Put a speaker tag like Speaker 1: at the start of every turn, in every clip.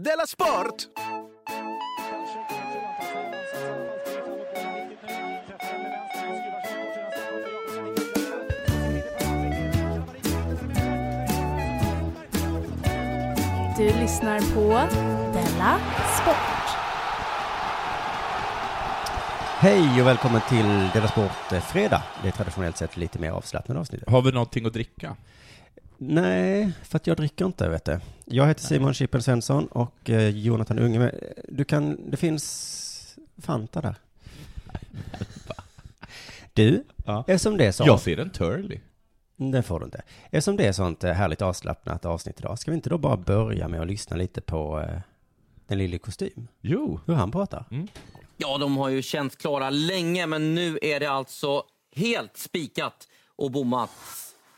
Speaker 1: Della Sport!
Speaker 2: Du lyssnar på Della Sport.
Speaker 3: Hej och välkommen till Della Sport eh, Fredag. Det är traditionellt sett lite mer avslappnade avsnittet.
Speaker 4: Har vi någonting att dricka?
Speaker 3: Nej, för att jag dricker inte, vet du. Jag heter Simon Chippen Svensson och eh, Jonathan Unge. Men, eh, Du kan, det finns Fanta där. Du,
Speaker 4: Ja.
Speaker 3: eftersom det är sånt,
Speaker 4: Jag ser en Turley.
Speaker 3: det får du inte. Eftersom det är sånt eh, härligt avslappnat avsnitt idag, ska vi inte då bara börja med att lyssna lite på eh, den lille i kostym?
Speaker 4: Jo.
Speaker 3: Hur han pratar?
Speaker 4: Mm.
Speaker 5: Ja, de har ju känts klara länge, men nu är det alltså helt spikat och bommat.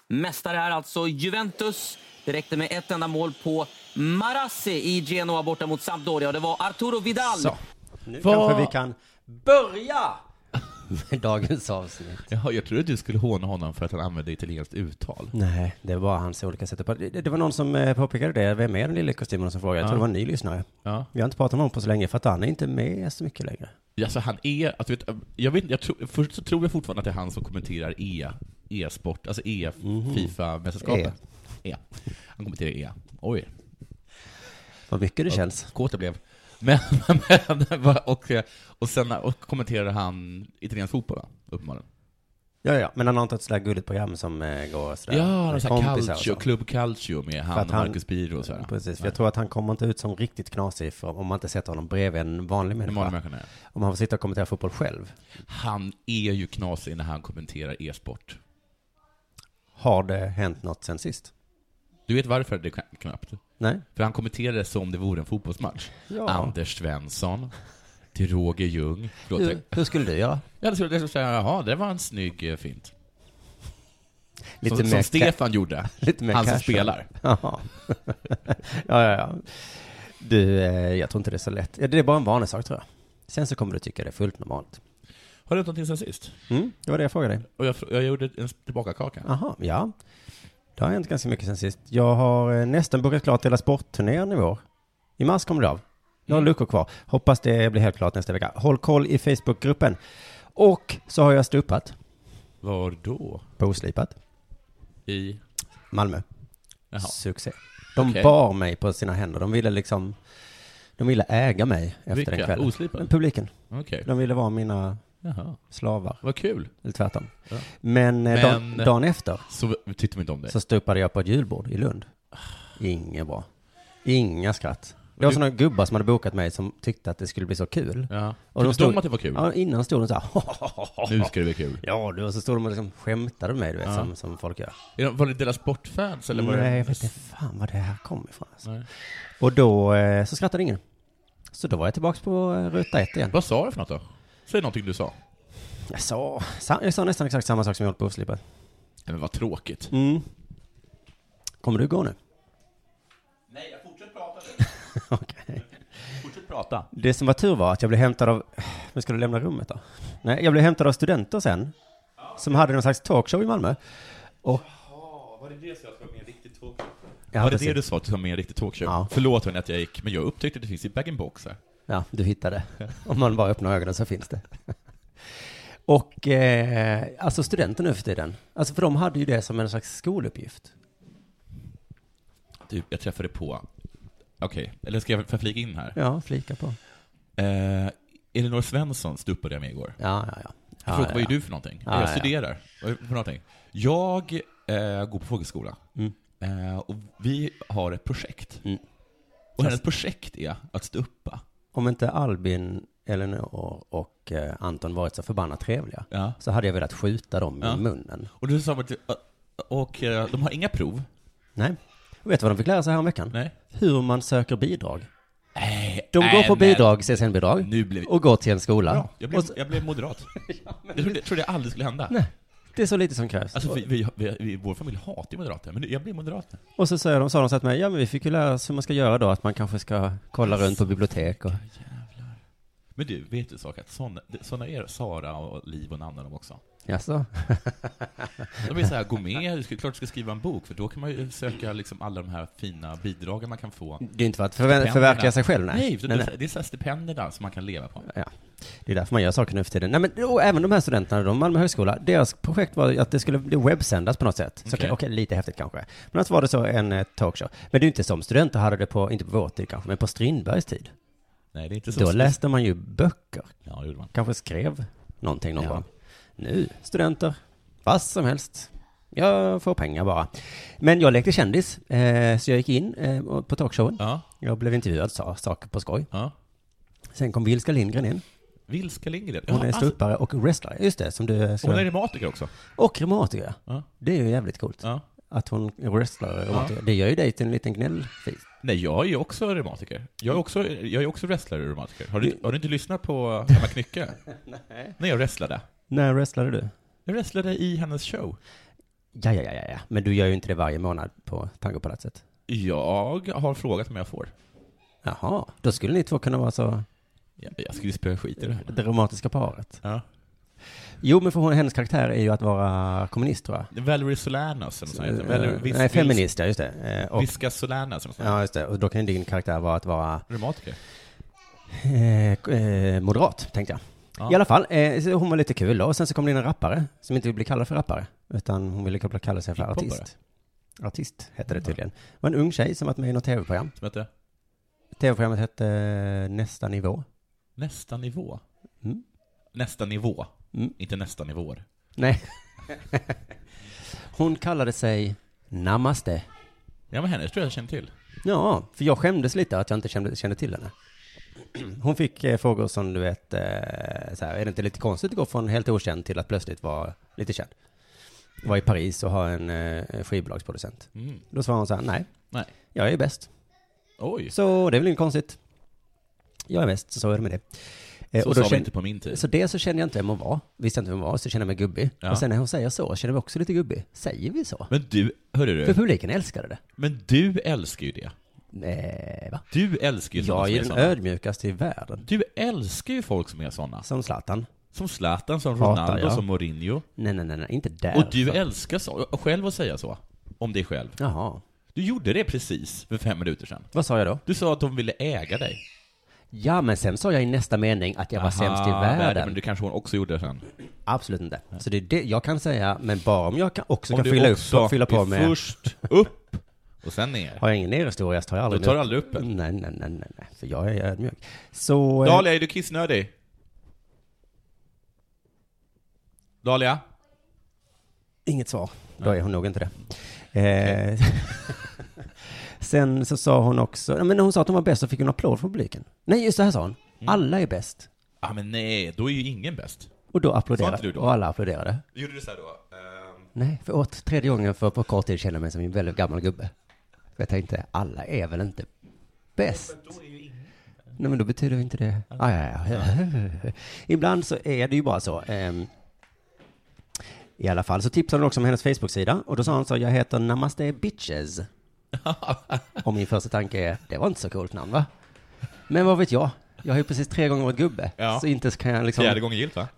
Speaker 5: Mästare är alltså Juventus. Det räckte med ett enda mål på Marassi i Genoa borta mot Sampdoria. Och det var Arturo Vidal.
Speaker 4: Så.
Speaker 3: Nu
Speaker 4: Vad-
Speaker 3: kanske vi kan börja med dagens avsnitt.
Speaker 4: Jaha, jag trodde du skulle håna honom för att han använde italienskt uttal.
Speaker 3: Nej, det var hans olika sätt att prata. Det, det var någon som eh, påpekade det. Vem är den lille kostymen som frågade? Jag tror det var en ny lyssnare.
Speaker 4: Ja.
Speaker 3: Vi har inte pratat om honom på så länge för att han är inte med så mycket längre.
Speaker 4: Alltså han är, att, du vet, jag vet, jag tror- först så tror jag fortfarande att det är han som kommenterar E, E-sport, alltså E, Fifa-mästerskapet. E. Han kommenterar E. Oj,
Speaker 3: Vad mycket det
Speaker 4: vad
Speaker 3: känns.
Speaker 4: kåt jag blev. Men, men vad- och, och sen och kommenterade han italiensk fotboll, va? uppenbarligen.
Speaker 3: Ja, ja, men han har inte ett sådär gulligt program som eh, går sådär.
Speaker 4: Ja,
Speaker 3: med
Speaker 4: någon sån här
Speaker 3: kompisar och
Speaker 4: Calcio,
Speaker 3: så.
Speaker 4: Club Calcio med
Speaker 3: För
Speaker 4: han
Speaker 3: att
Speaker 4: och
Speaker 3: han-
Speaker 4: Marcus Biro och sådär.
Speaker 3: Precis, för jag tror att han kommer inte ut som riktigt knasig för, om man inte sätter honom bredvid en vanlig
Speaker 4: Den
Speaker 3: människa.
Speaker 4: vanliga människan är.
Speaker 3: Om han får sitta och kommentera fotboll själv.
Speaker 4: Han är ju knasig när han kommenterar e-sport.
Speaker 3: Har det hänt något sen sist?
Speaker 4: Du vet varför det är knappt?
Speaker 3: Nej?
Speaker 4: För han kommenterar det som om det vore en fotbollsmatch.
Speaker 3: Ja.
Speaker 4: Anders Svensson, till Roger Ljung. Förlåt, jag-
Speaker 3: Hur, hur skulle du göra?
Speaker 4: jag hade trott att säga jaha, det var en snygg eh, fint.
Speaker 3: Lite
Speaker 4: som,
Speaker 3: mer
Speaker 4: som Stefan gjorde.
Speaker 3: Lite mer
Speaker 4: han som
Speaker 3: cash.
Speaker 4: spelar.
Speaker 3: Jaha. ja, ja, ja. Du, eh, jag tror inte det är så lätt. Ja, Det är bara en vanlig sak tror jag. Sen så kommer du tycka det är fullt normalt.
Speaker 4: Har du hört någonting sen sist?
Speaker 3: Mm, det var det jag frågade dig.
Speaker 4: Och jag, fr- jag gjorde en tillbakakaka.
Speaker 3: Aha, ja. Det har hänt ganska mycket sen sist. Jag har eh, nästan bokat klart hela sportturnén i vår. I mars kommer det av. Några luckor kvar. Hoppas det blir helt klart nästa vecka. Håll koll i Facebookgruppen. Och så har jag stupat,
Speaker 4: Var då?
Speaker 3: påslipat,
Speaker 4: I?
Speaker 3: Malmö.
Speaker 4: Jaha.
Speaker 3: Succé. De
Speaker 4: Okej.
Speaker 3: bar mig på sina händer. De ville liksom, de ville äga mig efter den
Speaker 4: Vilka?
Speaker 3: kvällen.
Speaker 4: Oslipade?
Speaker 3: Publiken.
Speaker 4: Okej.
Speaker 3: De ville vara mina
Speaker 4: Jaha.
Speaker 3: slavar.
Speaker 4: Vad kul.
Speaker 3: Eller tvärtom.
Speaker 4: Ja.
Speaker 3: Men, eh, Dagen,
Speaker 4: Men-
Speaker 3: dagen efter
Speaker 4: Så tyckte de inte om dig.
Speaker 3: så stupade jag på ett julbord i Lund. Inget bra. Inga skratt. Det var
Speaker 4: du-
Speaker 3: sådana gubbar som hade bokat mig som tyckte att det skulle bli så kul.
Speaker 4: Ja.
Speaker 3: Och de
Speaker 4: Tyckte
Speaker 3: stod-
Speaker 4: de att det var kul?
Speaker 3: Ja, innan stod de så här.
Speaker 4: Nu ska det bli kul.
Speaker 3: Ja, du, och så stod de och liksom skämtade med mig, du vet, som, som folk gör.
Speaker 4: Är de- Var det deras sportfans eller var det...
Speaker 3: Nej, jag vet inte fan var det här kom ifrån. Alltså.
Speaker 4: Nej.
Speaker 3: Och då eh, så skrattade ingen. Så då var jag tillbaka på eh, ruta ett igen.
Speaker 4: Vad sa du för något då? Säg någonting du sa.
Speaker 3: Jag sa, sa- jag sa nästan exakt samma sak som jag hållit på att slipa.
Speaker 4: Nej, men vad tråkigt.
Speaker 3: Mm. Kommer du gå nu?
Speaker 4: Nej, jag fortsätter prata nu.
Speaker 3: Okej.
Speaker 4: Fortsätt prata.
Speaker 3: Det som var tur var att jag blev hämtad av... Men ska du lämna rummet då? Nej, jag blev hämtad av studenter sen. Som hade någon slags talkshow i Malmö. Och...
Speaker 4: Var det det som jag var med i en riktig talkshow?
Speaker 3: Ja,
Speaker 4: var det
Speaker 3: precis.
Speaker 4: det du sa att du var med i en riktig talkshow?
Speaker 3: Ja.
Speaker 4: Förlåt hörni att jag gick, men jag upptäckte att det finns i bag box här.
Speaker 3: Ja, du hittade. Om man bara öppnar ögonen så finns det. Och eh, alltså studenter nu för tiden. Alltså för de hade ju det som en slags skoluppgift.
Speaker 4: Du, jag träffade på... Okej, eller ska jag få flika in här?
Speaker 3: Ja, flika på.
Speaker 4: Eh, Elinor Svensson stupade jag med igår.
Speaker 3: Ja, ja, ja.
Speaker 4: Jag
Speaker 3: ja,
Speaker 4: frågade, vad är du för någonting?
Speaker 3: Ja,
Speaker 4: jag
Speaker 3: ja.
Speaker 4: studerar. Vad är du för någonting? Jag eh, går på folkhögskola. Eh, och vi har ett projekt.
Speaker 3: Mm.
Speaker 4: Och hennes projekt är att stuppa.
Speaker 3: Om inte Albin, Elinor och eh, Anton varit så förbannat trevliga
Speaker 4: Ja.
Speaker 3: så hade jag velat skjuta dem
Speaker 4: Ja.
Speaker 3: i munnen.
Speaker 4: Och du sa att och eh, de har inga prov.
Speaker 3: Nej. Och vet du vad de fick lära sig häromveckan?
Speaker 4: Nej.
Speaker 3: Hur man söker bidrag.
Speaker 4: Nej,
Speaker 3: De går
Speaker 4: Eh, nej,
Speaker 3: på
Speaker 4: men-
Speaker 3: bidrag, CSN-bidrag,
Speaker 4: Nu blev-
Speaker 3: och går till en skola.
Speaker 4: Bra, jag blev,
Speaker 3: Och så,
Speaker 4: jag blev moderat. Jag trodde, trodde jag aldrig skulle hända.
Speaker 3: nej, det är så lite som krävs.
Speaker 4: Alltså, vi, vi, vi, vi, vår familj hatar ju moderater, men jag blev moderat nu.
Speaker 3: och så sa de, sa de så att mig, ja men vi fick ju lära oss hur man ska göra då, att man kanske ska kolla runt på bibliotek och...
Speaker 4: Men du, vet du en sak? Att såna, såna är Sara och Liv och Nanna de också.
Speaker 3: Jaså?
Speaker 4: De är så här, gå med, du ska, klart du ska skriva en bok, för då kan man ju söka liksom alla de här fina bidragen man kan få.
Speaker 3: Det är inte för att förvä- förverkliga sig själv, nej.
Speaker 4: Nej, för
Speaker 3: nej,
Speaker 4: det-
Speaker 3: nej.
Speaker 4: det är så här stipendierna som man kan leva på.
Speaker 3: Ja. Det är därför man gör saker nu för tiden. Nej, men, och även de här studenterna, de Malmö högskola, deras projekt var ju att det skulle bli webbsändas på något sätt. Så
Speaker 4: Okej.
Speaker 3: Okej, lite häftigt kanske. Men att var det så en eh, talkshow. Men det är ju inte som studenter hade det på, inte på vår tid kanske, men på Strindbergs tid.
Speaker 4: Nej, det är inte så.
Speaker 3: Då läste man ju böcker,
Speaker 4: Ja, det gjorde man.
Speaker 3: kanske skrev någonting någon
Speaker 4: Ja.
Speaker 3: gång. Nu, studenter, vad som helst. Jag får pengar bara. Men jag lekte kändis, eh, så jag gick in eh, på talkshowen.
Speaker 4: Ja,
Speaker 3: Jag blev intervjuad, sa saker på skoj.
Speaker 4: ja.
Speaker 3: Sen kom Vilska Lindgren in.
Speaker 4: Vilska Lindgren.
Speaker 3: Hon
Speaker 4: Ja, alltså.
Speaker 3: är ståuppare och wrestler. Just det, som du
Speaker 4: hon är
Speaker 3: ska...
Speaker 4: reumatiker också.
Speaker 3: Och reumatiker.
Speaker 4: Ja.
Speaker 3: Det är ju jävligt coolt.
Speaker 4: Ja.
Speaker 3: Att hon är wrestler och reumatiker. Det gör ju dig till en liten gnällfis.
Speaker 4: Nej, jag är ju också reumatiker. Jag är också, jag är också wrestlare och reumatiker. Har du, har du inte lyssnat på Emma Knycke? Nej. När jag wrestlade.
Speaker 3: När wrestlade du?
Speaker 4: Jag wrestlade i hennes show.
Speaker 3: Ja, ja, ja, ja, ja. Men du gör ju inte det varje månad på Tangopalatset.
Speaker 4: Jag har frågat om jag får.
Speaker 3: Jaha, då skulle ni två kunna vara så...
Speaker 4: Jag, jag skulle spöa skit i det här.
Speaker 3: Det reumatiska paret.
Speaker 4: Ja.
Speaker 3: Jo, men för hon, hennes karaktär är ju att vara kommunist, tror jag.
Speaker 4: Valerie Solanas eller något sånt.
Speaker 3: Eh,
Speaker 4: heter. Valerie, vis,
Speaker 3: Nej, feminist, ja, just det. Eh,
Speaker 4: Vis,
Speaker 3: Och,
Speaker 4: Viska Solanas eller något sånt.
Speaker 3: ja, just det. Och då kan ju din karaktär vara att vara
Speaker 4: Reumatiker.
Speaker 3: eh, eh, moderat, tänkte jag.
Speaker 4: Ja.
Speaker 3: I alla fall, eh, så hon var lite kul då. och sen så kom det in en rappare som inte ville bli kallad för rappare, utan hon ville bli kallad sig för
Speaker 4: Hiphopare.
Speaker 3: artist. Artist hette det tydligen. Det var en ung tjej som varit med i något tv-program.
Speaker 4: Som heter
Speaker 3: Tv-programmet hette eh, Nästa nivå.
Speaker 4: Nästa nivå.
Speaker 3: Mm.
Speaker 4: Nästa nivå.
Speaker 3: Mm.
Speaker 4: Inte nästa nivåer.
Speaker 3: Nej. hon kallade sig Namaste.
Speaker 4: Ja, men henne tror jag jag känner till.
Speaker 3: Ja, för jag skämdes lite att jag inte kände, kände till henne. Hon fick eh, frågor som du vet, eh, så här, är det inte lite konstigt att gå från helt okänd till att plötsligt vara lite känd? Var i Paris och ha en eh, skivbolagsproducent.
Speaker 4: Mm.
Speaker 3: Då svarade hon så här, nej,
Speaker 4: Nej.
Speaker 3: jag är bäst.
Speaker 4: Oj.
Speaker 3: Så det är väl inget konstigt. Jag är bäst, så är det med det. Eh,
Speaker 4: Så
Speaker 3: och
Speaker 4: sa
Speaker 3: då
Speaker 4: vi
Speaker 3: kände-
Speaker 4: inte på min tid.
Speaker 3: så det så känner jag inte vem hon var, visste inte vem hon var, så känner jag mig gubbig.
Speaker 4: Ja.
Speaker 3: Och sen när hon säger så, känner jag mig också lite gubbig. Säger vi så?
Speaker 4: Men du, hörru
Speaker 3: För
Speaker 4: du.
Speaker 3: publiken älskade det.
Speaker 4: Men du älskar ju det.
Speaker 3: Eh, va?
Speaker 4: Du älskar ju såna
Speaker 3: Jag
Speaker 4: som
Speaker 3: är den
Speaker 4: är såna.
Speaker 3: ödmjukaste i världen.
Speaker 4: Du älskar ju folk som är såna.
Speaker 3: Som Zlatan.
Speaker 4: Som Zlatan, som
Speaker 3: Hatar
Speaker 4: Ronaldo,
Speaker 3: jag.
Speaker 4: som Mourinho.
Speaker 3: Nej, nej, nej, nej, inte där.
Speaker 4: Och du älskar så, själv att säga så. Om dig själv.
Speaker 3: Jaha.
Speaker 4: Du gjorde det precis för fem minuter sedan.
Speaker 3: Vad sa jag då?
Speaker 4: Du sa att de ville äga dig.
Speaker 3: Ja, men sen sa jag i nästa mening att jag var sämst i världen.
Speaker 4: Men det kanske hon också gjorde sen.
Speaker 3: Absolut inte. Så det är det jag kan säga, men bara om jag kan också
Speaker 4: Om
Speaker 3: kan
Speaker 4: du
Speaker 3: fylla,
Speaker 4: också
Speaker 3: upp, och fylla
Speaker 4: är
Speaker 3: på med...
Speaker 4: först upp och sen ner.
Speaker 3: Har jag ingen nerhistoria så tar jag
Speaker 4: Då
Speaker 3: aldrig
Speaker 4: tar du aldrig upp en.
Speaker 3: Nej, nej, nej, nej, nej, för jag är ödmjuk. Så... eh,
Speaker 4: Dahlia, är du kissnödig? Dahlia?
Speaker 3: eh, Inget svar. Då är hon nog inte det. Eh, sen så sa hon också, nej, men när hon sa att hon var bäst så fick hon applåd från publiken. Nej, just det här sa hon.
Speaker 4: Mm.
Speaker 3: Alla är bäst.
Speaker 4: Ja, ah, men nej, då är ju ingen bäst.
Speaker 3: Och då
Speaker 4: Sa inte
Speaker 3: applåderade,
Speaker 4: du då?
Speaker 3: och alla applåderade.
Speaker 4: Gjorde du så här då? ehm,
Speaker 3: Nej, för åt tredje gången för på kort tid känner jag mig som en väldigt gammal gubbe. För jag tänkte, alla är väl inte bäst? Nej, men då betyder ju inte det... Ah, ja, ja, ja. Ibland så är det ju bara så. ehm. I alla fall så tipsade hon också om hennes Facebook-sida och då sa hon så, jag heter Namaste Bitches. och min första tanke är, det var inte så coolt namn va? Men vad vet jag? Jag har ju precis tre gånger varit gubbe,
Speaker 4: Ja.
Speaker 3: så inte kan jag liksom...
Speaker 4: Fjärde gången gillt va?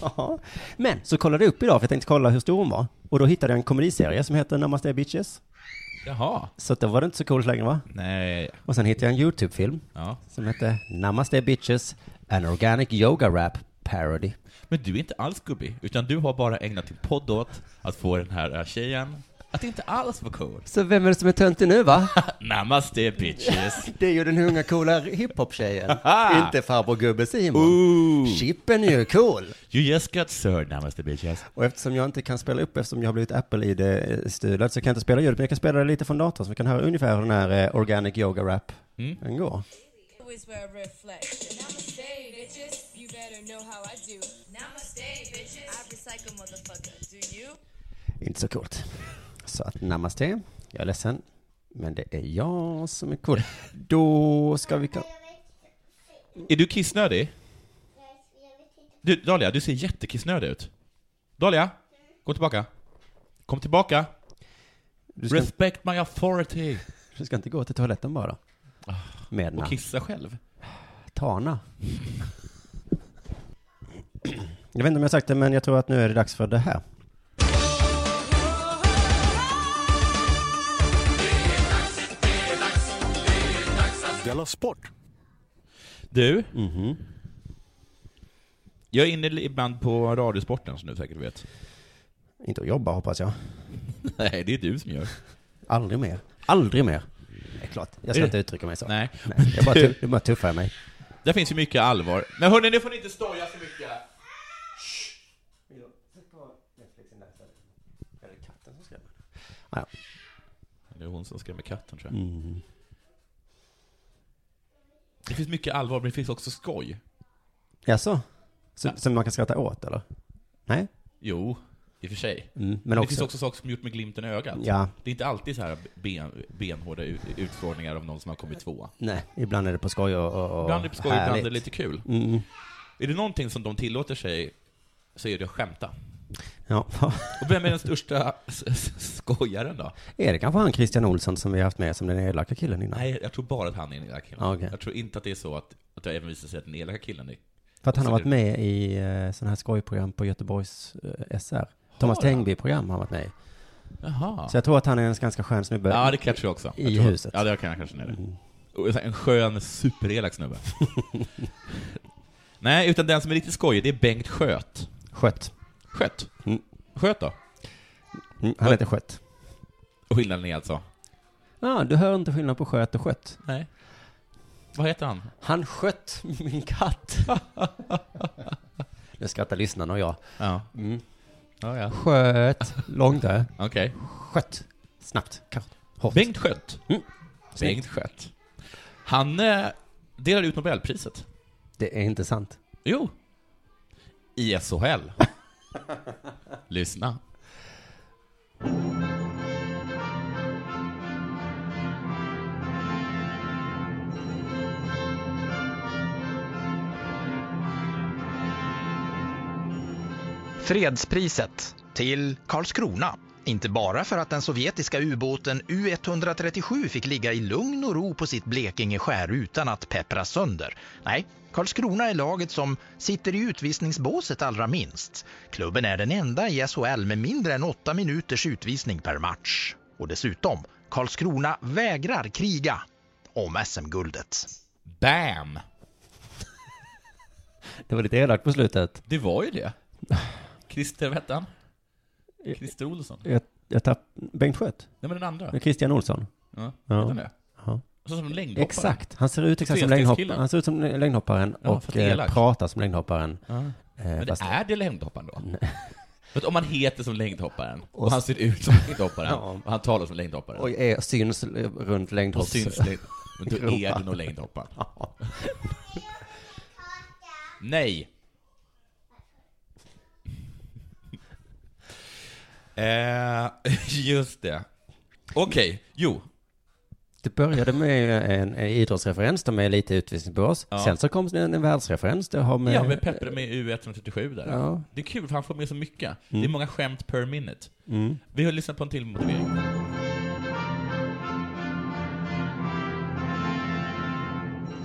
Speaker 3: Ja. Men så kollade jag upp idag för jag tänkte kolla hur stor hon var. Och då hittade jag en komediserie som heter Namaste Bitches.
Speaker 4: Jaha.
Speaker 3: Så att då var det inte så coolt längre va?
Speaker 4: Nej.
Speaker 3: Och sen hittade jag en YouTube-film
Speaker 4: Ja.
Speaker 3: som hette Namaste Bitches, An Organic Yoga Rap Parody.
Speaker 4: Men du är inte alls gubbig, utan du har bara ägnat din podd åt att få den här eh, tjejen att inte alls vara cool.
Speaker 3: Så vem är det som är töntig nu va?
Speaker 4: Namaste bitches.
Speaker 3: Det är ju den unga coola hiphop-tjejen.
Speaker 4: Haha!
Speaker 3: inte farbror gubbe Simon. Chippen är ju cool.
Speaker 4: You just got served, namaste bitches.
Speaker 3: Och eftersom jag inte kan spela upp, eftersom jag har blivit Apple-id-stulad, så kan jag inte spela ljudet, men jag kan spela det lite från datorn, så vi kan höra ungefär hur den här eh, Organic Yoga Rap den går.
Speaker 1: always wear a red flex. Namaste, bitches. You better know how I do. Namaste, bitches. I recycle, motherfucker. Do you?
Speaker 3: Inte så coolt. Så att namaste, jag är ledsen. Men det är jag som är cool. Då ska vi... ka-
Speaker 4: Är du kissnödig? Du, Dahlia, du ser jättekissnödig ut. Dahlia, gå tillbaka. Kom tillbaka.
Speaker 3: Du ska,
Speaker 4: Respect my authority.
Speaker 3: du Ah. ska inte gå till toaletten bara då? Med
Speaker 4: Ah, Och
Speaker 3: namn.
Speaker 4: kissa själv.
Speaker 3: Tana. Jag vet inte om jag sagt det, men jag tror att nu är det dags för det här.
Speaker 6: Della Sport!
Speaker 4: Du?
Speaker 3: Mhm.
Speaker 4: Jag är inne ibland på Radiosporten som du säkert vet.
Speaker 3: Inte att jobba hoppas jag.
Speaker 4: Nej, det är du som gör.
Speaker 3: Aldrig mer. Aldrig mer. Det är klart, jag ska
Speaker 4: Är det-
Speaker 3: inte uttrycka mig så.
Speaker 4: Nej.
Speaker 3: Jag bara, tu- jag bara tuffar mig.
Speaker 4: Där finns ju mycket allvar. Men hörni, nu får ni inte stoja så mycket.
Speaker 3: Ja,
Speaker 4: Det är hon som skrämmer katten tror jag.
Speaker 3: Mm.
Speaker 4: Det finns mycket allvar, men det finns också skoj.
Speaker 3: Jaså? Så,
Speaker 4: Ja.
Speaker 3: Som man kan skratta åt eller? Nej?
Speaker 4: Jo, i och för sig.
Speaker 3: Mm,
Speaker 4: Men
Speaker 3: men
Speaker 4: det finns
Speaker 3: också...
Speaker 4: också saker som är gjort med glimten i ögat.
Speaker 3: Ja.
Speaker 4: Det är inte alltid så här ben, benhårda ut- utfrågningar av någon som har kommit två.
Speaker 3: Nej, ibland är det på skoj och, och, och
Speaker 4: Ibland är det på skoj, ibland är det lite kul.
Speaker 3: Mm,
Speaker 4: Är det någonting som de tillåter sig så är det att skämta.
Speaker 3: ja.
Speaker 4: Och vem är den största s- s- skojaren då?
Speaker 3: är det kanske han Christian Olsson som vi har haft med som den elaka killen innan?
Speaker 4: Nej, jag tror bara att han är den elaka killen.
Speaker 3: Ja, Ah, okej.
Speaker 4: Jag tror inte att det är så att, att det även visar sig att den elaka killen är...
Speaker 3: För att han har
Speaker 4: Så
Speaker 3: varit
Speaker 4: det-
Speaker 3: med i eh, sådana här skojprogram på Göteborgs eh, SR. Thomas
Speaker 4: han?
Speaker 3: Tengby-program har han varit med i.
Speaker 4: Jaha.
Speaker 3: Så jag tror att han är en ganska skön snubbe.
Speaker 4: Ja, det kan jag tro också. Jag
Speaker 3: I
Speaker 4: tror,
Speaker 3: huset. Mm.
Speaker 4: Ja, det kan jag kanske ner det. Och så här En skön, superelak snubbe. Nej, utan den som är riktigt skojig, det är Bengt Sköt.
Speaker 3: Skött.
Speaker 4: Sköt?
Speaker 3: Mm.
Speaker 4: Sköt då?
Speaker 3: Mm, han heter Skött.
Speaker 4: Och skillnaden är alltså?
Speaker 3: Ja, du hör inte skillnad på sköt och skött.
Speaker 4: Nej. Vad heter han?
Speaker 3: Han skött min katt. nu skrattar lyssnarna och jag.
Speaker 4: Ja.
Speaker 3: Mm.
Speaker 4: Ja, ja.
Speaker 3: Sköt. Långt där.
Speaker 4: Okej.
Speaker 3: Skött. Snabbt. Kort. Hårt.
Speaker 4: Bengt Sköt.
Speaker 3: Mm.
Speaker 4: Bengt Sköt. Han eh, delade ut Nobelpriset.
Speaker 3: Det är inte sant.
Speaker 4: Jo. I SHL. Lyssna.
Speaker 7: Fredspriset till Karlskrona. Inte bara för att den sovjetiska ubåten U137 fick ligga i lugn och ro på sitt Blekingeskär utan att peppras sönder. Nej, Karlskrona är laget som sitter i utvisningsbåset allra minst. Klubben är den enda i SHL med mindre än åtta minuters utvisning per match. Och dessutom, Karlskrona vägrar kriga om SM-guldet.
Speaker 4: Bam!
Speaker 3: Det var lite elakt på slutet.
Speaker 4: Det var ju det. Christer, vad hette han? Christer Olsson? Nej
Speaker 3: Jag, jag tapp... Bengt Skött?
Speaker 4: men den andra.
Speaker 3: Christian Olsson?
Speaker 4: Ja,
Speaker 3: Ja.
Speaker 4: hette han det?
Speaker 3: Ja.
Speaker 4: Så som längdhoppare.
Speaker 3: Exakt. Han ser ut exakt som, längdhopp...
Speaker 4: Trestegskillen.
Speaker 3: han ser ut som längdhopparen
Speaker 4: Ja, för att
Speaker 3: och
Speaker 4: det är
Speaker 3: eh,
Speaker 4: elakt.
Speaker 3: pratar som längdhopparen.
Speaker 4: Ja.
Speaker 3: Eh,
Speaker 4: Men det
Speaker 3: fast-
Speaker 4: är det längdhopparen då? För att om man heter som längdhopparen, och,
Speaker 3: Och-
Speaker 4: han ser ut som längdhopparen,
Speaker 3: Ja.
Speaker 4: och han talar som längdhopparen,
Speaker 3: Och
Speaker 4: och,
Speaker 3: är, syns eh, runt längdhopps...
Speaker 4: syns längd... Men då är
Speaker 3: Europa.
Speaker 4: det nog längdhopparen. Nej! eh, just det. Okej, jo.
Speaker 3: Det började med en, en idrottsreferens, de är lite utvisningsbås.
Speaker 4: Ja.
Speaker 3: Sen så kom det en, en världsreferens, det har med...
Speaker 4: Ja, med Peppe med U137 där.
Speaker 3: Ja.
Speaker 4: Det är kul, för han får med så mycket. Det är många skämt per minute. Vi har lyssnat på en till motivering.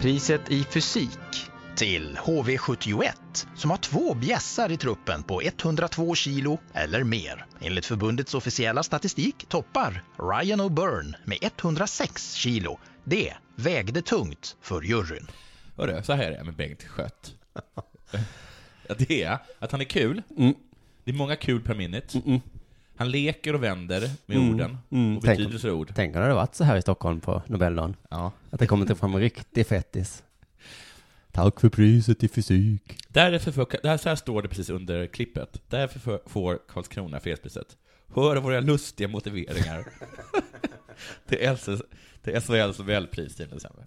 Speaker 7: Priset i fysik till HV71 som har två bjässar i truppen på 102 kilo eller mer. Enligt förbundets officiella statistik toppar Ryan O'Byrne med 106 kilo. Det vägde tungt för juryn.
Speaker 4: Hörru, så här är det med Bengt Skött. Ja, det är att han är kul.
Speaker 3: Mm.
Speaker 4: Det är många kul per minute. Han leker och vänder med orden och
Speaker 3: Mm, Tänk-
Speaker 4: betydelser och ord.
Speaker 3: Tänk om det hade varit så här i Stockholm på Nobeldagen.
Speaker 4: Ja.
Speaker 3: Att det kommer inte fram en riktig fettis. Tack för priset i fysik.
Speaker 4: Därför får, där, så här står det precis under klippet. Därför får- får Karlskrona fredspriset. Hör våra lustiga motiveringar. det är SS till SHLs Nobelpris i december.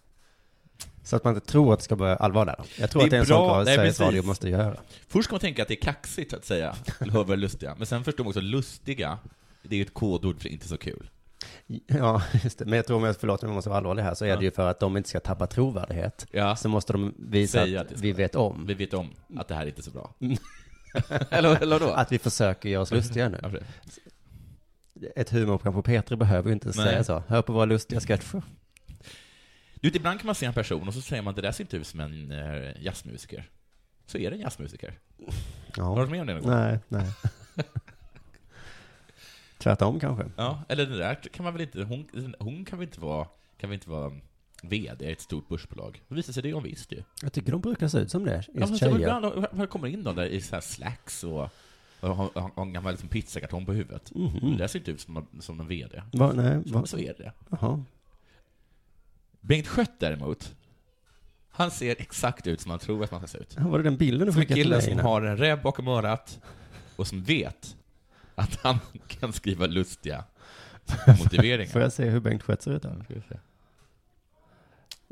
Speaker 3: Så att man inte tror att det ska börja allvar där. Jag tror
Speaker 4: Det
Speaker 3: att det är
Speaker 4: är
Speaker 3: en sån
Speaker 4: bra.
Speaker 3: grej
Speaker 4: Nej,
Speaker 3: Sveriges
Speaker 4: precis.
Speaker 3: Radio måste göra.
Speaker 4: Först ska man tänka att det är kaxigt att säga hör våra lustiga, men sen förstår man också lustiga, det är ju ett kodord för inte så kul.
Speaker 3: Ja, just det. Men jag tror, om jag förlåt om jag måste vara allvarlig här, så är det ju för att de inte ska tappa trovärdighet.
Speaker 4: Ja.
Speaker 3: Så måste de visa
Speaker 4: Säga
Speaker 3: att
Speaker 4: att det ska
Speaker 3: vi vet om.
Speaker 4: Vi vet om att det här är inte är så bra. eller, eller då?
Speaker 3: Att vi försöker göra oss lustiga nu.
Speaker 4: Ja, för-
Speaker 3: Ett humorprogram på P3 behöver ju inte
Speaker 4: Nej.
Speaker 3: säga så. Hör på våra lustiga sketcher.
Speaker 4: Du vet, ibland kan man se en person och så säger man det där ser inte ut som en eh, jazzmusiker. så är det en jazzmusiker. Har du
Speaker 3: Ja.
Speaker 4: varit med om det någon gång?
Speaker 3: Nej, nej. Tvärtom kanske.
Speaker 4: Ja, eller den där kan man väl inte, hon, hon kan väl inte vara, kan väl inte vara VD i ett stort börsbolag? Det visar sig det är hon visst ju.
Speaker 3: Jag tycker de brukar se ut som det,
Speaker 4: Ja,
Speaker 3: just
Speaker 4: fast det var
Speaker 3: tjejer.
Speaker 4: ibland, var kommer in någon där i så här slacks och, och har, har en gammal liksom pizzakartong på huvudet. Det där ser inte ut som, någon- som en VD.
Speaker 3: Va, nej, va,
Speaker 4: Men så är det.
Speaker 3: jaha.
Speaker 4: Bengt Schött däremot, han ser exakt ut som man tror att man ska se ut.
Speaker 3: Ja, Var det den bilden du
Speaker 4: Som en
Speaker 3: skickade till
Speaker 4: kille
Speaker 3: mig?
Speaker 4: som
Speaker 3: innan?
Speaker 4: har en räv bakom örat och som vet att han kan skriva lustiga
Speaker 3: Får
Speaker 4: motiveringar.
Speaker 3: jag se hur Bengt Schött ser ut? då?
Speaker 4: Ska vi se.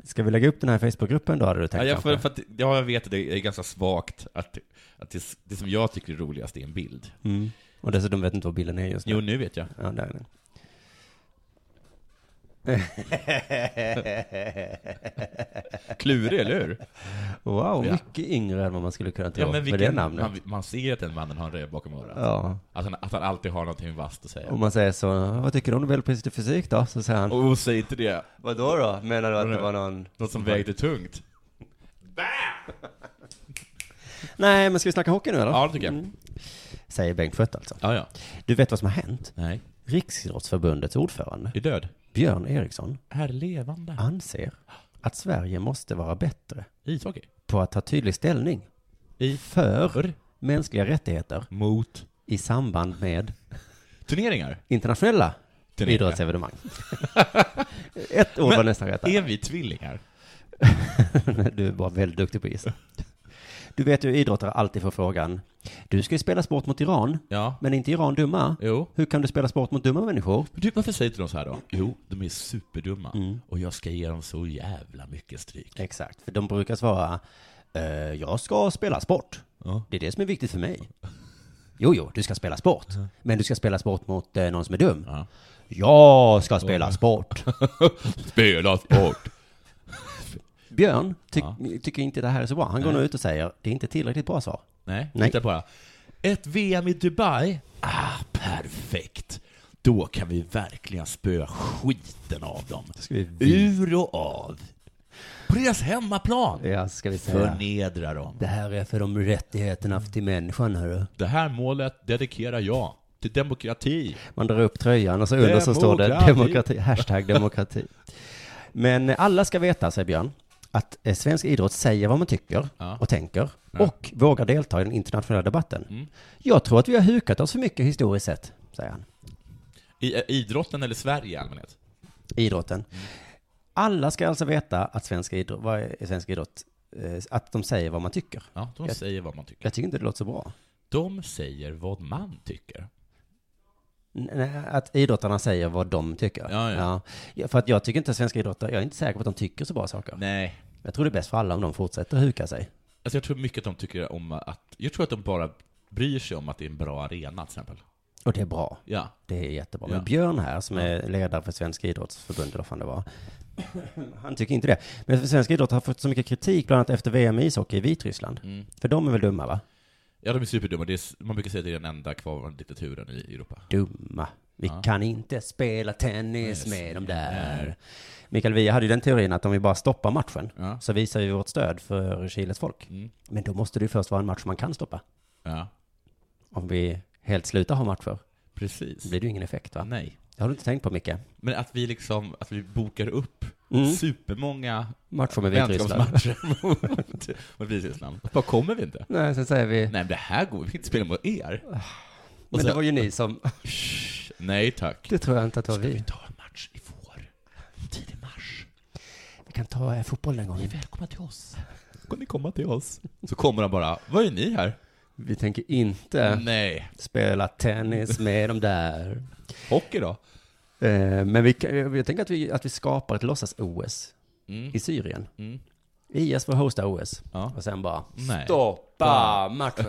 Speaker 3: Ska vi lägga upp den här Facebookgruppen då, hade du
Speaker 4: Ja,
Speaker 3: tänkt?
Speaker 4: jag, för,
Speaker 3: kanske?
Speaker 4: för att, ja, jag vet att det är ganska svagt att, att det, det som jag tycker är roligast är en bild.
Speaker 3: Mm. Och dessutom vet inte vad bilden är just nu.
Speaker 4: Jo, nu vet jag.
Speaker 3: Ja, där är den.
Speaker 4: Klurig, eller hur?
Speaker 3: Wow,
Speaker 4: Ja.
Speaker 3: mycket yngre än vad man skulle kunna tro
Speaker 4: Ja, men
Speaker 3: med det
Speaker 4: vilken,
Speaker 3: namnet.
Speaker 4: man, man ser att den mannen har en räv bakom örat.
Speaker 3: Ja,
Speaker 4: Att, han, att han alltid har någonting vasst att säga.
Speaker 3: om man säger så, vad tycker du om Nobelpriset i fysik då? Så säger han,
Speaker 4: Och oh, säg inte det.
Speaker 3: vadå då? Menar du att det var någon...
Speaker 4: Något som vägde tungt.
Speaker 3: Nej, men ska vi snacka hockey nu eller?
Speaker 4: Ja, det tycker jag.
Speaker 3: Mm. Säger Bengt Schött alltså.
Speaker 4: Ja, ja.
Speaker 3: Du vet vad som har hänt?
Speaker 4: Nej.
Speaker 3: Riksidrottsförbundets ordförande,
Speaker 4: Är död. Ah.
Speaker 3: Björn Eriksson,
Speaker 4: Här levande.
Speaker 3: anser att Sverige måste vara bättre
Speaker 4: Ishockey.
Speaker 3: på att ta tydlig ställning
Speaker 4: I
Speaker 3: för mänskliga rättigheter
Speaker 4: Mot.
Speaker 3: i samband med
Speaker 4: Turneringar.
Speaker 3: internationella
Speaker 4: Turneringar.
Speaker 3: idrottsevenemang. Ett ord var
Speaker 4: Men
Speaker 3: nästan rätt. där.
Speaker 4: Är vi tvillingar?
Speaker 3: Du var väldigt duktig på is. Du vet ju idrottare alltid får frågan, du ska ju spela sport mot Iran,
Speaker 4: Ja.
Speaker 3: men är inte Iran dumma?
Speaker 4: Jo.
Speaker 3: Hur kan du spela sport mot dumma människor?
Speaker 4: Men Du, varför säger inte de så här då? Mm. Jo, de är superdumma. Och jag ska ge dem så jävla mycket stryk.
Speaker 3: Exakt, för de brukar svara, eh, jag ska spela sport.
Speaker 4: Ja.
Speaker 3: Det är det som är viktigt för mig. Jo, jo, du ska spela sport. Men du ska spela sport mot eh, någon som är dum.
Speaker 4: Ja.
Speaker 3: Jag ska spela sport.
Speaker 4: Spela sport!
Speaker 3: Björn ty-
Speaker 4: Ja.
Speaker 3: tycker inte det här är så bra. Han går nu ut och säger, det är inte tillräckligt bra svar.
Speaker 4: Nej,
Speaker 3: Nej.
Speaker 4: titta bara. Ett VM i Dubai? Ah, perfekt. Då kan vi verkligen spöa skiten av dem.
Speaker 3: Ska vi-
Speaker 4: Ur och av. På deras hemmaplan.
Speaker 3: Ja, ska vi säga.
Speaker 4: Förnedra dem.
Speaker 3: Det här är för de rättigheterna till människan, hörru.
Speaker 4: Det här målet dedikerar jag till demokrati.
Speaker 3: Man drar upp tröjan och så under så står det
Speaker 4: Demokrati.
Speaker 3: demokrati, hashtag demokrati. Men alla ska veta, säger Björn, att eh, svensk idrott säger vad man tycker
Speaker 4: Ja.
Speaker 3: och tänker och vågar delta i den internationella debatten. Jag tror att vi har hukat oss för mycket historiskt sett, säger han.
Speaker 4: I eh, idrotten eller Sverige i allmänhet?
Speaker 3: Idrotten. Alla ska alltså veta att svensk idrott, vad är svensk idrott, Eh, att de säger vad man tycker.
Speaker 4: Ja, de
Speaker 3: Jag-
Speaker 4: säger vad man tycker.
Speaker 3: Jag tycker inte det låter så bra.
Speaker 4: De säger vad man tycker.
Speaker 3: N- nej, Att idrottarna säger vad de tycker.
Speaker 4: Ja, ja.
Speaker 3: Ja, För att jag tycker inte att svenska idrottare, jag är inte säker på att de tycker så bra saker.
Speaker 4: Nej.
Speaker 3: Jag tror det är bäst för alla om de fortsätter huka sig.
Speaker 4: Alltså jag tror mycket att de tycker om att... Jag tror att de bara bryr sig om att det är en bra arena till exempel.
Speaker 3: Och det är bra.
Speaker 4: Ja.
Speaker 3: Det är jättebra.
Speaker 4: Ja.
Speaker 3: Men Björn här, som är ledare för Svenska idrottsförbundet, vad fan det var, han tycker inte det. Men svenska idrott har fått så mycket kritik, bland annat efter VM i ishockey i Vitryssland.
Speaker 4: Mm.
Speaker 3: För de är väl dumma, va?
Speaker 4: Ja, de är superdumma. Det är, man brukar säga att det är den enda kvarvarande diktaturen i Europa.
Speaker 3: Dumma. Vi
Speaker 4: Ja.
Speaker 3: kan inte spela tennis
Speaker 4: Yes.
Speaker 3: med dem där.
Speaker 4: Nej.
Speaker 3: Mikael Wiehe hade ju den teorin att om vi bara stoppar matchen
Speaker 4: Ja.
Speaker 3: så visar vi vårt stöd för Chiles folk.
Speaker 4: Mm.
Speaker 3: Men då måste det ju först vara en match man kan stoppa.
Speaker 4: Ja,
Speaker 3: Om vi helt slutar ha matcher
Speaker 4: precis.
Speaker 3: blir det ju ingen effekt va?
Speaker 4: Nej.
Speaker 3: Det har du inte tänkt på Micke?
Speaker 4: Men att vi liksom, att vi bokar upp
Speaker 3: Mm.
Speaker 4: supermånga
Speaker 3: Matcher med Vitryssland.
Speaker 4: vänskapsmatcher mot, mot Vitryssland. Bara kommer vi inte?
Speaker 3: Nej, sen säger vi...
Speaker 4: Nej, men det här går vi inte spela mot er. Och
Speaker 3: Men
Speaker 4: så-
Speaker 3: det var ju ni som...
Speaker 4: Shh, Nej tack.
Speaker 3: Det tror jag inte att det var vi.
Speaker 4: tar en match i vår. Tidig mars.
Speaker 3: Vi kan ta eh, fotboll en gång.
Speaker 4: Välkomna till oss. Kan ni komma till oss? Så kommer han bara, vad är ni här?
Speaker 3: Vi tänker inte
Speaker 4: Nej,
Speaker 3: spela tennis med dem där.
Speaker 4: hockey då?
Speaker 3: Eh, Men vi kan, jag jag tänker att vi, att vi skapar ett låtsas-OS
Speaker 4: Mm.
Speaker 3: i Syrien.
Speaker 4: Mm.
Speaker 3: IS får hosta OS.
Speaker 4: Ja.
Speaker 3: Och sen bara...
Speaker 4: Nej.
Speaker 3: Stoppa matchen!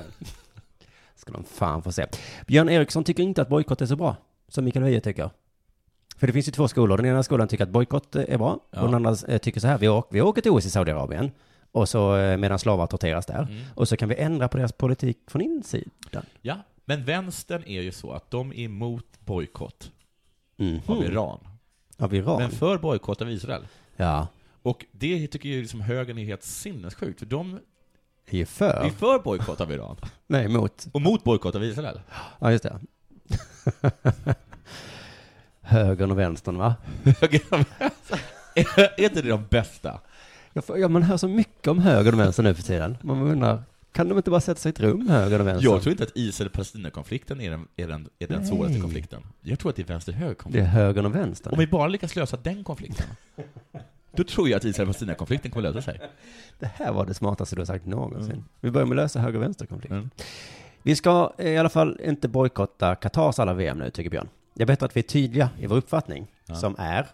Speaker 3: Ska de fan få se. Björn Eriksson tycker inte att bojkott är så bra, som Mikael Wiehe tycker. För det finns ju två skolor. Den ena skolan tycker att bojkott eh, är bra.
Speaker 4: Ja.
Speaker 3: Och den andra eh, tycker så här, vi åker, vi åker till OS i Saudiarabien. Och så eh, medan slavar torteras där.
Speaker 4: Mm.
Speaker 3: Och så kan vi ändra på deras politik från insidan.
Speaker 4: Ja, men vänstern är ju så att de är emot bojkott
Speaker 3: Mm.
Speaker 4: av Iran.
Speaker 3: Av Iran.
Speaker 4: Men för bojkott av Israel.
Speaker 3: Ja.
Speaker 4: Och det tycker ju liksom högern är helt sinnessjukt, för de
Speaker 3: Vi är för.
Speaker 4: Vi är för bojkott av Iran.
Speaker 3: Nej, mot.
Speaker 4: Och mot bojkott av Israel.
Speaker 3: Ja, just det. Högern och vänstern, va?
Speaker 4: är inte det de bästa?
Speaker 3: Jag får, ja, man hör så mycket om högern och vänstern nu för tiden. Man undrar, kan de inte bara sätta sig i ett rum, högern och vänstern?
Speaker 4: Jag tror inte att Israel-Palestina-konflikten är den, är den, är den svåraste konflikten. Jag tror att det är
Speaker 3: Det är
Speaker 4: vänster-höger-konflikten.
Speaker 3: högern och vänstern.
Speaker 4: Om vi bara lyckas lösa den konflikten, då tror jag att Israel-Palestina-konflikten kommer lösa sig.
Speaker 3: Det här var det smartaste du har sagt någonsin. Vi börjar med att lösa höger och vänsterkonflikt.
Speaker 4: Mm.
Speaker 3: Vi ska eh, i alla fall inte bojkotta Qatars alla VM nu, tycker Björn. Det är bättre att vi är tydliga i vår uppfattning, som är,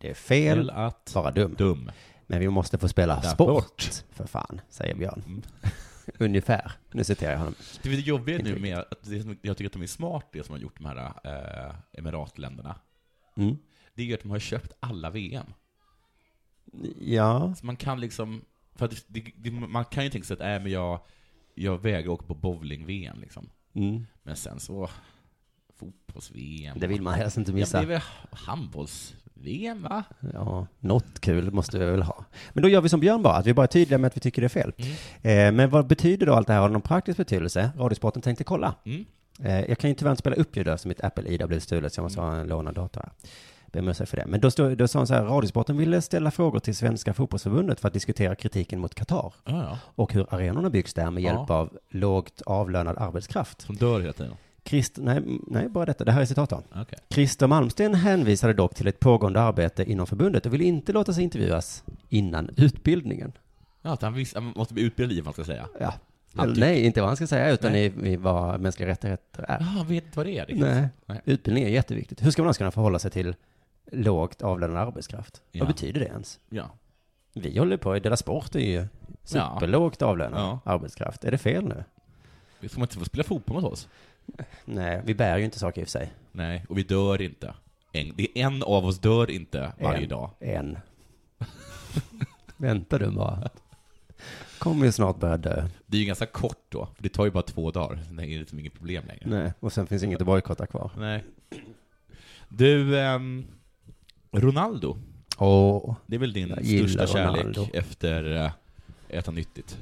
Speaker 3: det är fel,
Speaker 4: Fel att
Speaker 3: vara dum.
Speaker 4: dum.
Speaker 3: Men vi måste få spela
Speaker 4: Där
Speaker 3: sport,
Speaker 4: bort. Mm.
Speaker 3: för fan, säger Björn. Ungefär. Nu citerar jag honom.
Speaker 4: Det är jobbigt nu
Speaker 3: riktigt.
Speaker 4: med att det som, jag tycker att de är smart, det som har gjort de här eh, emiratländerna.
Speaker 3: Mm.
Speaker 4: Det är ju att de har köpt alla VM.
Speaker 3: Ja,
Speaker 4: Så man kan liksom, för att det, det, man kan ju tänka sig att äh, men jag, jag vägrar åka på bowling-VM liksom.
Speaker 3: mm.
Speaker 4: Men sen så, fotbolls-VM.
Speaker 3: det vill man helst inte
Speaker 4: ja, men
Speaker 3: missa.
Speaker 4: det är väl handbolls-VM va?
Speaker 3: Ja, något kul måste vi väl ha. Men då gör vi som Björn bara, att vi bara är tydliga med att vi tycker det är fel.
Speaker 4: Mm.
Speaker 3: Eh, men vad betyder då allt det här? Har det någon praktisk betydelse? Radiosporten tänkte kolla.
Speaker 4: Mm.
Speaker 3: Eh, jag kan ju tyvärr inte spela upp ljud som mitt Apple ID har blivit stulet, så jag måste ha en lånad dator här. Ber om ursäkt för det. Men då, stod, då sa han så här, Radiosporten ville ställa frågor till Svenska Fotbollsförbundet för att diskutera kritiken mot Qatar
Speaker 4: Ja, ja.
Speaker 3: och hur arenorna byggs där med
Speaker 4: Ja.
Speaker 3: hjälp av lågt avlönad arbetskraft.
Speaker 4: Som dör hela tiden.
Speaker 3: Christ, nej, m- nej, bara detta. Det här är citat då.
Speaker 4: Okej.
Speaker 3: Christer Malmsten hänvisade dock till ett pågående arbete inom förbundet och ville inte låta sig intervjuas innan utbildningen.
Speaker 4: Ja, att han, visst, han måste bli utbildad i vad man ska säga.
Speaker 3: Ja.
Speaker 4: Han
Speaker 3: Eller,
Speaker 4: tyck-
Speaker 3: nej, inte vad han ska säga, utan i, i vad mänskliga rättigheter är.
Speaker 4: Ja, han vet inte vad det är riktigt.
Speaker 3: Nej.
Speaker 4: Nej.
Speaker 3: Utbildning är jätteviktigt. Hur ska man annars kunna förhålla sig till lågt avlönad arbetskraft?
Speaker 4: Ja.
Speaker 3: Vad betyder det ens?
Speaker 4: Ja.
Speaker 3: Vi håller på, Dela Sport är ju superlågt avlönad
Speaker 4: Ja.
Speaker 3: arbetskraft. Är det fel nu?
Speaker 4: Vi får inte få spela fotboll mot oss.
Speaker 3: Nej, vi bär ju inte saker i och för sig.
Speaker 4: Nej, och vi dör inte. En, det är en av oss dör inte varje
Speaker 3: en,
Speaker 4: dag.
Speaker 3: En. Vänta du bara. Kommer ju snart börja dö.
Speaker 4: Det är ju ganska kort då, för det tar ju bara två dagar. Sen är det liksom inget problem längre.
Speaker 3: Nej, och sen finns inget att bojkotta kvar.
Speaker 4: Nej. Du, ehm, Ronaldo.
Speaker 3: Åh,
Speaker 4: Det är väl din
Speaker 3: Jag gillar
Speaker 4: största kärlek
Speaker 3: Ronaldo.
Speaker 4: efter eh, äta nyttigt?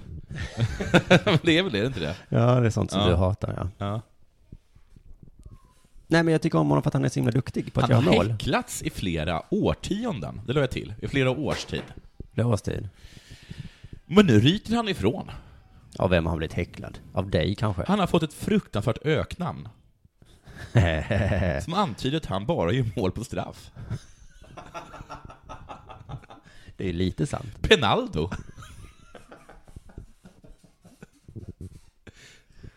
Speaker 4: det är väl det, är det inte det?
Speaker 3: ja det är sånt som
Speaker 4: Ja.
Speaker 3: du hatar ja.
Speaker 4: Ja.
Speaker 3: Nej men jag tycker om honom för att han är så himla duktig på att
Speaker 4: Han
Speaker 3: göra
Speaker 4: har
Speaker 3: mål.
Speaker 4: häcklats i flera årtionden, det la jag till. I flera års tid.
Speaker 3: Blåstid.
Speaker 4: Men nu ryter han ifrån.
Speaker 3: Av vem har han blivit häcklad? Av dig kanske?
Speaker 4: Han har fått ett fruktansvärt öknamn, som antyder att han bara gör mål på straff.
Speaker 3: det är ju lite sant.
Speaker 4: Penaldo.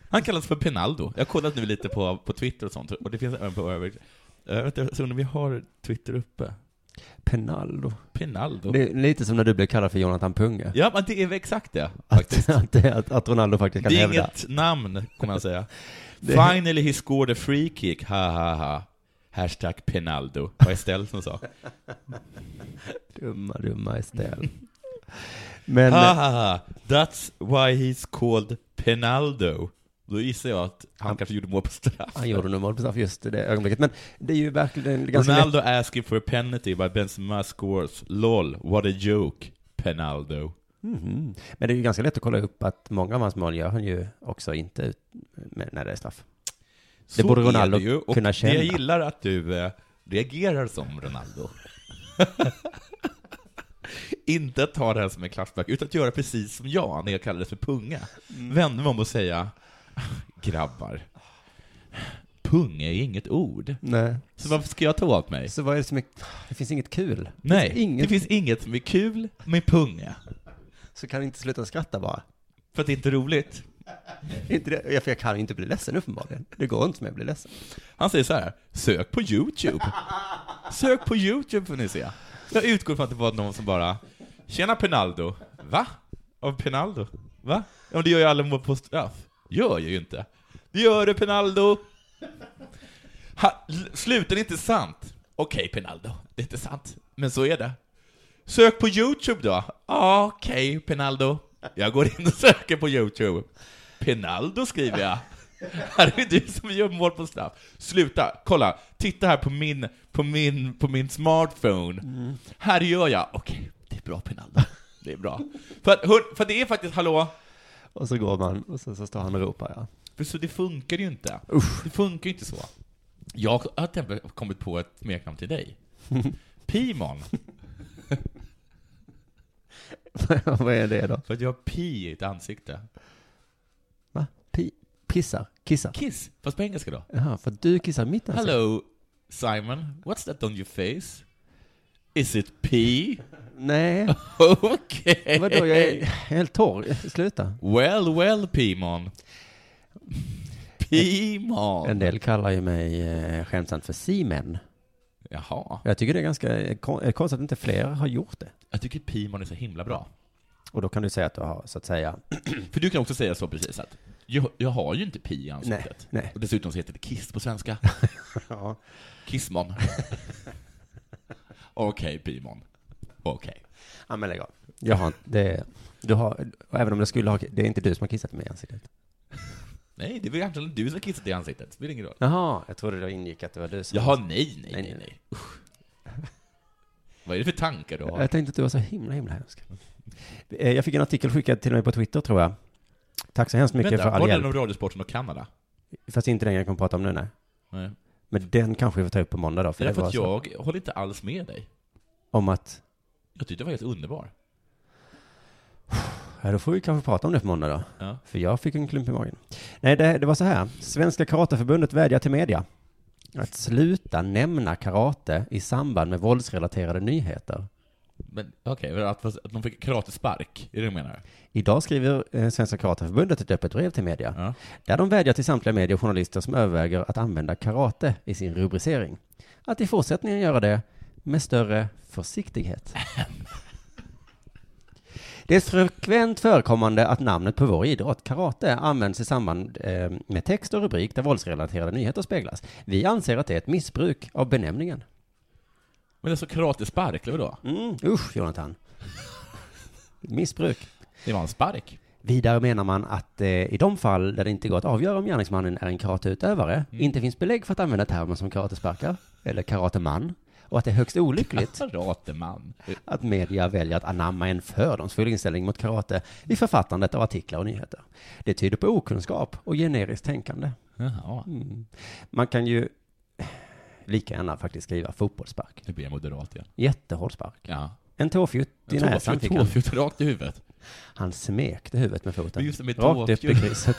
Speaker 4: Han kallas för Penaldo. Jag har kollat nu lite på, på Twitter och sånt, och det finns även på övrigt. Jag vet inte, så undrar om vi har Twitter uppe?
Speaker 3: Penaldo.
Speaker 4: Penaldo.
Speaker 3: Det är lite som när du blev kallad för Jonathan Punge.
Speaker 4: Ja, men det är väl exakt det.
Speaker 3: Att, att, det- att, att Ronaldo faktiskt kan
Speaker 4: Det är
Speaker 3: hävda.
Speaker 4: inget namn, kommer han säga. Finally he scored a free kick, ha ha ha. Hashtag Penaldo, var Estelle som sa.
Speaker 3: Dumma, dumma Estelle. Men, eh,
Speaker 4: Ha ha ha, that's why he's called Penaldo. Då gissar jag att han, kanske gjorde mål på straff.
Speaker 3: han gjorde nog mål på straff just i det ögonblicket. Men det är ju verkligen ganska lätt.
Speaker 4: Ronaldo asking for a penalty by Benzema scores. LOL, what a joke. Penaldo.
Speaker 3: Mhm. Men det är ju ganska lätt att kolla upp att många av hans mål gör han ju också inte ut med, när det är straff. Det
Speaker 4: Så
Speaker 3: borde
Speaker 4: är
Speaker 3: Ronaldo
Speaker 4: ju, och
Speaker 3: kunna känna.
Speaker 4: Det jag gillar att du eh, reagerar som Ronaldo. Inte att ta det här som en klassback, utan att göra precis som jag när jag kallades för punga.
Speaker 3: Mm.
Speaker 4: Vände mig om och säga, grabbar, punga är inget ord.
Speaker 3: Nej.
Speaker 4: Så varför ska jag ta åt mig?
Speaker 3: Så vad är det som är, det finns inget kul.
Speaker 4: Nej,
Speaker 3: det finns inget,
Speaker 4: det finns inget som är kul med punga.
Speaker 3: så kan jag inte sluta skratta bara.
Speaker 4: För att det är inte roligt.
Speaker 3: Inte det, jag- för jag kan ju inte bli ledsen uppenbarligen. Det går inte som jag blir ledsen.
Speaker 4: Han säger så här, sök på YouTube. Sök på YouTube får ni se. Jag utgår från att det var någon som bara, tjena Penaldo. Va? Av Penaldo? Va? Ja men det gör ju alla mål på straff. Gör jag ju inte. Det gör du Penaldo! Ha, l- sluten är inte sant. Okej Penaldo, det är inte sant. Men så är det. Sök på YouTube då. Ja, Okej Penaldo. Jag går in och söker på YouTube. Penaldo skriver jag. Här är det du som gör mål på straff. Sluta, kolla, titta här på min, på min, på min smartphone. Här gör jag, okej, det är bra Penaldo. Det är bra. För, att, hör, för det är faktiskt, hallå,
Speaker 3: Och så går man och så, så står han och ropar ja.
Speaker 4: För så det funkar ju inte.
Speaker 3: Usch.
Speaker 4: Det funkar ju inte så. Jag har till exempel kommit på ett smeknamn till dig. Pimon.
Speaker 3: Vad är det då?
Speaker 4: För att jag har pi i ett ansikte.
Speaker 3: Va? Pi- pissar? Kissar?
Speaker 4: Kiss, fast på engelska då.
Speaker 3: Jaha, för du kissar mitt alltså? ansikte?
Speaker 4: Hello Simon, what's that on your face? Is it pee?
Speaker 3: Nej,
Speaker 4: Okej.
Speaker 3: vadå jag är helt torr. Sluta.
Speaker 4: Well, well Pimon. Pimon.
Speaker 3: En del kallar ju mig eh, skämtsamt för Simen.
Speaker 4: Jaha.
Speaker 3: Jag tycker det är ganska eh, kon- eh, konstigt att inte fler har gjort det.
Speaker 4: Jag tycker Pimon är så himla bra.
Speaker 3: Och då kan du säga att du har, så att säga,
Speaker 4: För du kan också säga så precis att jag, jag har ju inte pi i ansiktet.
Speaker 3: Nej, nej.
Speaker 4: Och dessutom så heter det kiss på svenska.
Speaker 3: ja,
Speaker 4: Kissmon. Okej, Pimon. Okej.
Speaker 3: ja men lägg av. Jag har inte- det, du har, och även om jag skulle ha, det är inte du som har kissat mig i ansiktet.
Speaker 4: Nej, det var egentligen du som kissade i ansiktet. Det spelar ingen roll.
Speaker 3: Jaha, jag trodde det ingick att det var du som...
Speaker 4: Jaha, nej, nej,
Speaker 3: Nej,
Speaker 4: nej,
Speaker 3: nej.
Speaker 4: nej. Usch. Vad är det för tankar du har?
Speaker 3: Jag tänkte att du var så himla, himla hemsk. Eh, Jag fick en artikel skickad till mig på Twitter, tror jag. Tack så hemskt mycket
Speaker 4: Vänta,
Speaker 3: för all
Speaker 4: var det
Speaker 3: hjälp.
Speaker 4: någon radiosporten och Kanada?
Speaker 3: Fast inte den jag kommer prata om nu, nej.
Speaker 4: Nej.
Speaker 3: Men den kanske vi får ta upp på måndag då,
Speaker 4: Det
Speaker 3: för
Speaker 4: är
Speaker 3: det,
Speaker 4: därför
Speaker 3: var
Speaker 4: att
Speaker 3: så.
Speaker 4: jag håller inte alls med dig.
Speaker 3: Om att,
Speaker 4: Jag tyckte det var helt underbar.
Speaker 3: ja då får vi kanske prata om det på måndag då.
Speaker 4: Ja.
Speaker 3: För jag fick en klump i magen. Nej, det, det var så här. Svenska Karateförbundet vädjar till media att sluta nämna karate i samband med våldsrelaterade nyheter.
Speaker 4: Men okej, men att, att de fick karatespark, är det du menar?
Speaker 3: Idag skriver eh, Svenska Karateförbundet ett öppet brev till media.
Speaker 4: Ja.
Speaker 3: Där de vädjar till samtliga medier och journalister som överväger att använda karate i sin rubricering. Att i fortsättningen göra det med större försiktighet. Det är frekvent förekommande att namnet på vår idrott, karate, används i samband eh, med text och rubrik där våldsrelaterade nyheter speglas. Vi anser att det är ett missbruk av benämningen.
Speaker 4: Men alltså karatespark, eller vadå?
Speaker 3: Mm, usch, Jonathan. Missbruk.
Speaker 4: Det var en spark.
Speaker 3: Vidare menar man att eh, i de fall där det inte går att avgöra om gärningsmannen är en karateutövare,
Speaker 4: Mm.
Speaker 3: inte finns belägg för att använda termer som karatesparkar eller karateman och att det är högst olyckligt
Speaker 4: Karateman.
Speaker 3: att media väljer att anamma en fördomsfull inställning mot karate i författandet av artiklar och nyheter. Det tyder på okunskap och generiskt tänkande.
Speaker 4: Jaha.
Speaker 3: Man kan ju lika gärna faktiskt skriva fotbollsspark.
Speaker 4: Nu blir jag moderat igen.
Speaker 3: Jättehård spark.
Speaker 4: Ja.
Speaker 3: En tåfjutt i näsan fick han.
Speaker 4: Tårfjutt rakt i huvudet.
Speaker 3: Han smekte huvudet med foten.
Speaker 4: Men just det med
Speaker 3: Rakt upp i
Speaker 4: tåfjutt.
Speaker 3: kriset.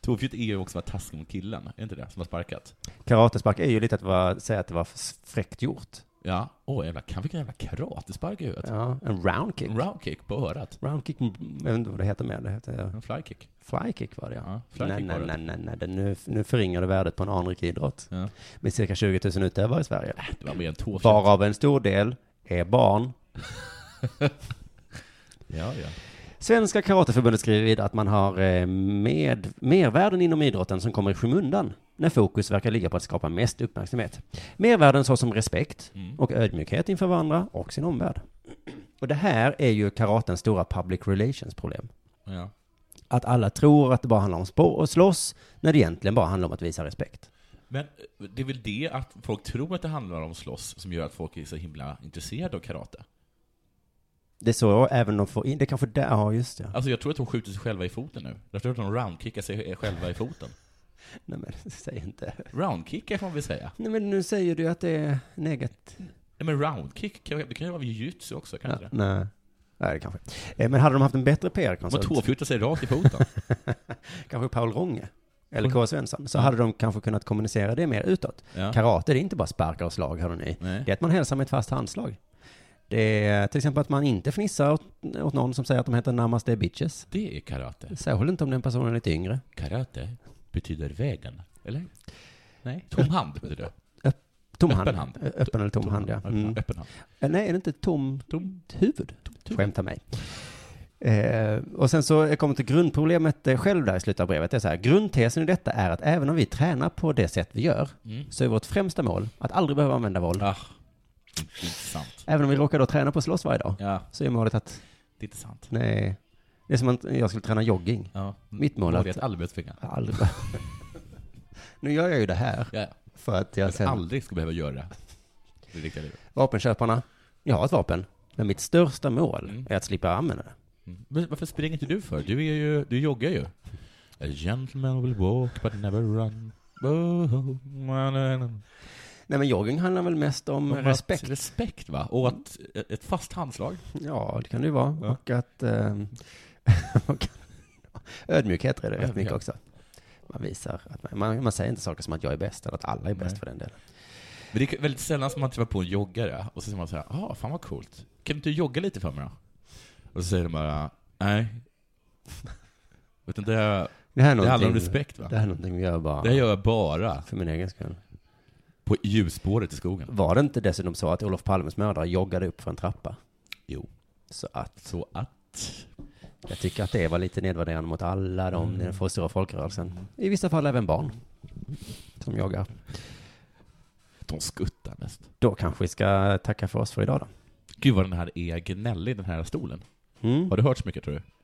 Speaker 4: Tårfjutt är ju också att vara taskig mot killen, är inte det? Som har sparkat.
Speaker 3: Karatespark är ju lite att vara, säga att det var fräckt gjort.
Speaker 4: Ja. Åh, jävlar. Kan vilken jävla karatespark i huvudet.
Speaker 3: Ja, en roundkick.
Speaker 4: En Roundkick på örat.
Speaker 3: Roundkick, mm, jag vet inte vad det heter mer. Det heter
Speaker 4: En flykick.
Speaker 3: flykick var det
Speaker 4: Ja,
Speaker 3: ja. nej,
Speaker 4: flykick var
Speaker 3: nej,
Speaker 4: det.
Speaker 3: nej, nej, nej, det- nu, nu förringar du värdet på en anrik idrott.
Speaker 4: Ja.
Speaker 3: Med cirka 20 000 utövare i Sverige.
Speaker 4: Det var mer en tårfjutt.
Speaker 3: Varav en stor del är barn.
Speaker 4: Ja, ja.
Speaker 3: Svenska Karateförbundet skriver vidare att man har eh, med, mervärden inom idrotten som kommer i skymundan när fokus verkar ligga på att skapa mest uppmärksamhet. Mervärden såsom respekt och ödmjukhet inför varandra och sin omvärld. Och det här är ju karatens stora public relations problem.
Speaker 4: ja.
Speaker 3: att alla tror att det bara handlar om spår och slåss, när det egentligen bara handlar om att visa respekt.
Speaker 4: Men eh, det är väl det att folk tror att det handlar om slåss som gör att folk är så himla intresserade av karate.
Speaker 3: Det är så även de får in, det kanske där, ja just det.
Speaker 4: Alltså jag tror att de skjuter sig själva i foten nu. Jag tror att de roundkickar sig eh, själva i foten.
Speaker 3: Nej men säg inte.
Speaker 4: Roundkickar får man väl säga?
Speaker 3: Nej men nu säger du att det är negativt.
Speaker 4: Nej men roundkick, kan- det kan ju vara jujutsu också, kan
Speaker 3: Ja,
Speaker 4: inte det?
Speaker 3: nej. Nej, det kanske. Eh, Men hade de haft en bättre
Speaker 4: Man
Speaker 3: PR-konsult,
Speaker 4: tåfjutar sig rakt i foten.
Speaker 3: kanske Paul Ronge, eller K. Svensson, så hade de kanske kunnat kommunicera det mer utåt.
Speaker 4: Hm. Ja.
Speaker 3: Karate, det är inte bara sparkar och slag, hörde ni.
Speaker 4: Nej.
Speaker 3: Det är att man hälsar med ett fast handslag. Det är till exempel att man inte fnissar åt, åt någon som säger att de heter namaste bitches.
Speaker 4: Det är karate.
Speaker 3: Särskilt inte om den personen är lite yngre.
Speaker 4: Karate betyder vägen, eller? Nej, tom hand betyder det.
Speaker 3: Tom
Speaker 4: Öppen
Speaker 3: hand.
Speaker 4: hand.
Speaker 3: Ö- Öppen eller tom, hand, ja.
Speaker 4: Öppen,
Speaker 3: Mm.
Speaker 4: öppen hand.
Speaker 3: Eh, Nej, är det inte tomt
Speaker 4: Tom.
Speaker 3: huvud? Skämta mig. Eh, och sen så jag kommer till grundproblemet eh, själv där i slutet av brevet. Det är så här, grundtesen i detta är att även om vi tränar på det sätt vi gör,
Speaker 4: Mm.
Speaker 3: så är vårt främsta mål att aldrig behöva använda våld.
Speaker 4: Ah, inte sant.
Speaker 3: Även om vi råkar då träna på att slåss varje dag,
Speaker 4: Ja,
Speaker 3: så är målet att,
Speaker 4: det är inte sant.
Speaker 3: nej, det är som att jag skulle träna jogging.
Speaker 4: Ja.
Speaker 3: Mitt mål är
Speaker 4: Målet är
Speaker 3: att-
Speaker 4: att aldrig behöva tvinga.
Speaker 3: Aldrig. nu gör jag ju det här,
Speaker 4: Ja, ja.
Speaker 3: för att jag
Speaker 4: Att jag
Speaker 3: sen,
Speaker 4: aldrig ska behöva göra det. Det är riktiga livet.
Speaker 3: vapenköparna, jag har ett vapen, men mitt största mål är att slippa använda det.
Speaker 4: Mm. Men varför springer inte du för? Du, är ju, du joggar ju. A gentleman will walk but never run. Oh, na, na, na.
Speaker 3: Nej, men jogging handlar väl mest om
Speaker 4: Om
Speaker 3: respekt.
Speaker 4: Att, respekt va? Och att, ett fast handslag.
Speaker 3: Ja, det kan det ju vara.
Speaker 4: Ja.
Speaker 3: Och att... ehm, och- ödmjukhet är det rätt mycket
Speaker 4: Ödmjukhet.
Speaker 3: också. Man visar att man, man, man säger inte saker som att jag är bäst eller att alla är bäst
Speaker 4: Nej.
Speaker 3: för den delen.
Speaker 4: Men det är väldigt sällan som man träffar på en joggare och så säger man så här, ah, fan vad coolt. Kan inte du jogga lite för mig då? Och så säger de bara, nej. Utan det, här,
Speaker 3: Det här är
Speaker 4: det handlar om
Speaker 3: någonting-
Speaker 4: respekt va?
Speaker 3: Det här är någonting vi gör bara
Speaker 4: Det här gör jag bara
Speaker 3: för min egen skull.
Speaker 4: på ljusspåret i skogen.
Speaker 3: Var det inte dessutom så att Olof Palmes mördare joggade upp för en trappa?
Speaker 4: Jo.
Speaker 3: Så att
Speaker 4: Så att...
Speaker 3: jag tycker att det var lite nedvärderande mot alla de i den stora folkrörelsen. I vissa fall även barn som joggar.
Speaker 4: De skuttar mest.
Speaker 3: Då kanske vi ska tacka för oss för idag då.
Speaker 4: Gud vad den här är gnällig, den här stolen.
Speaker 3: Mm.
Speaker 4: Har du hört så mycket tror du?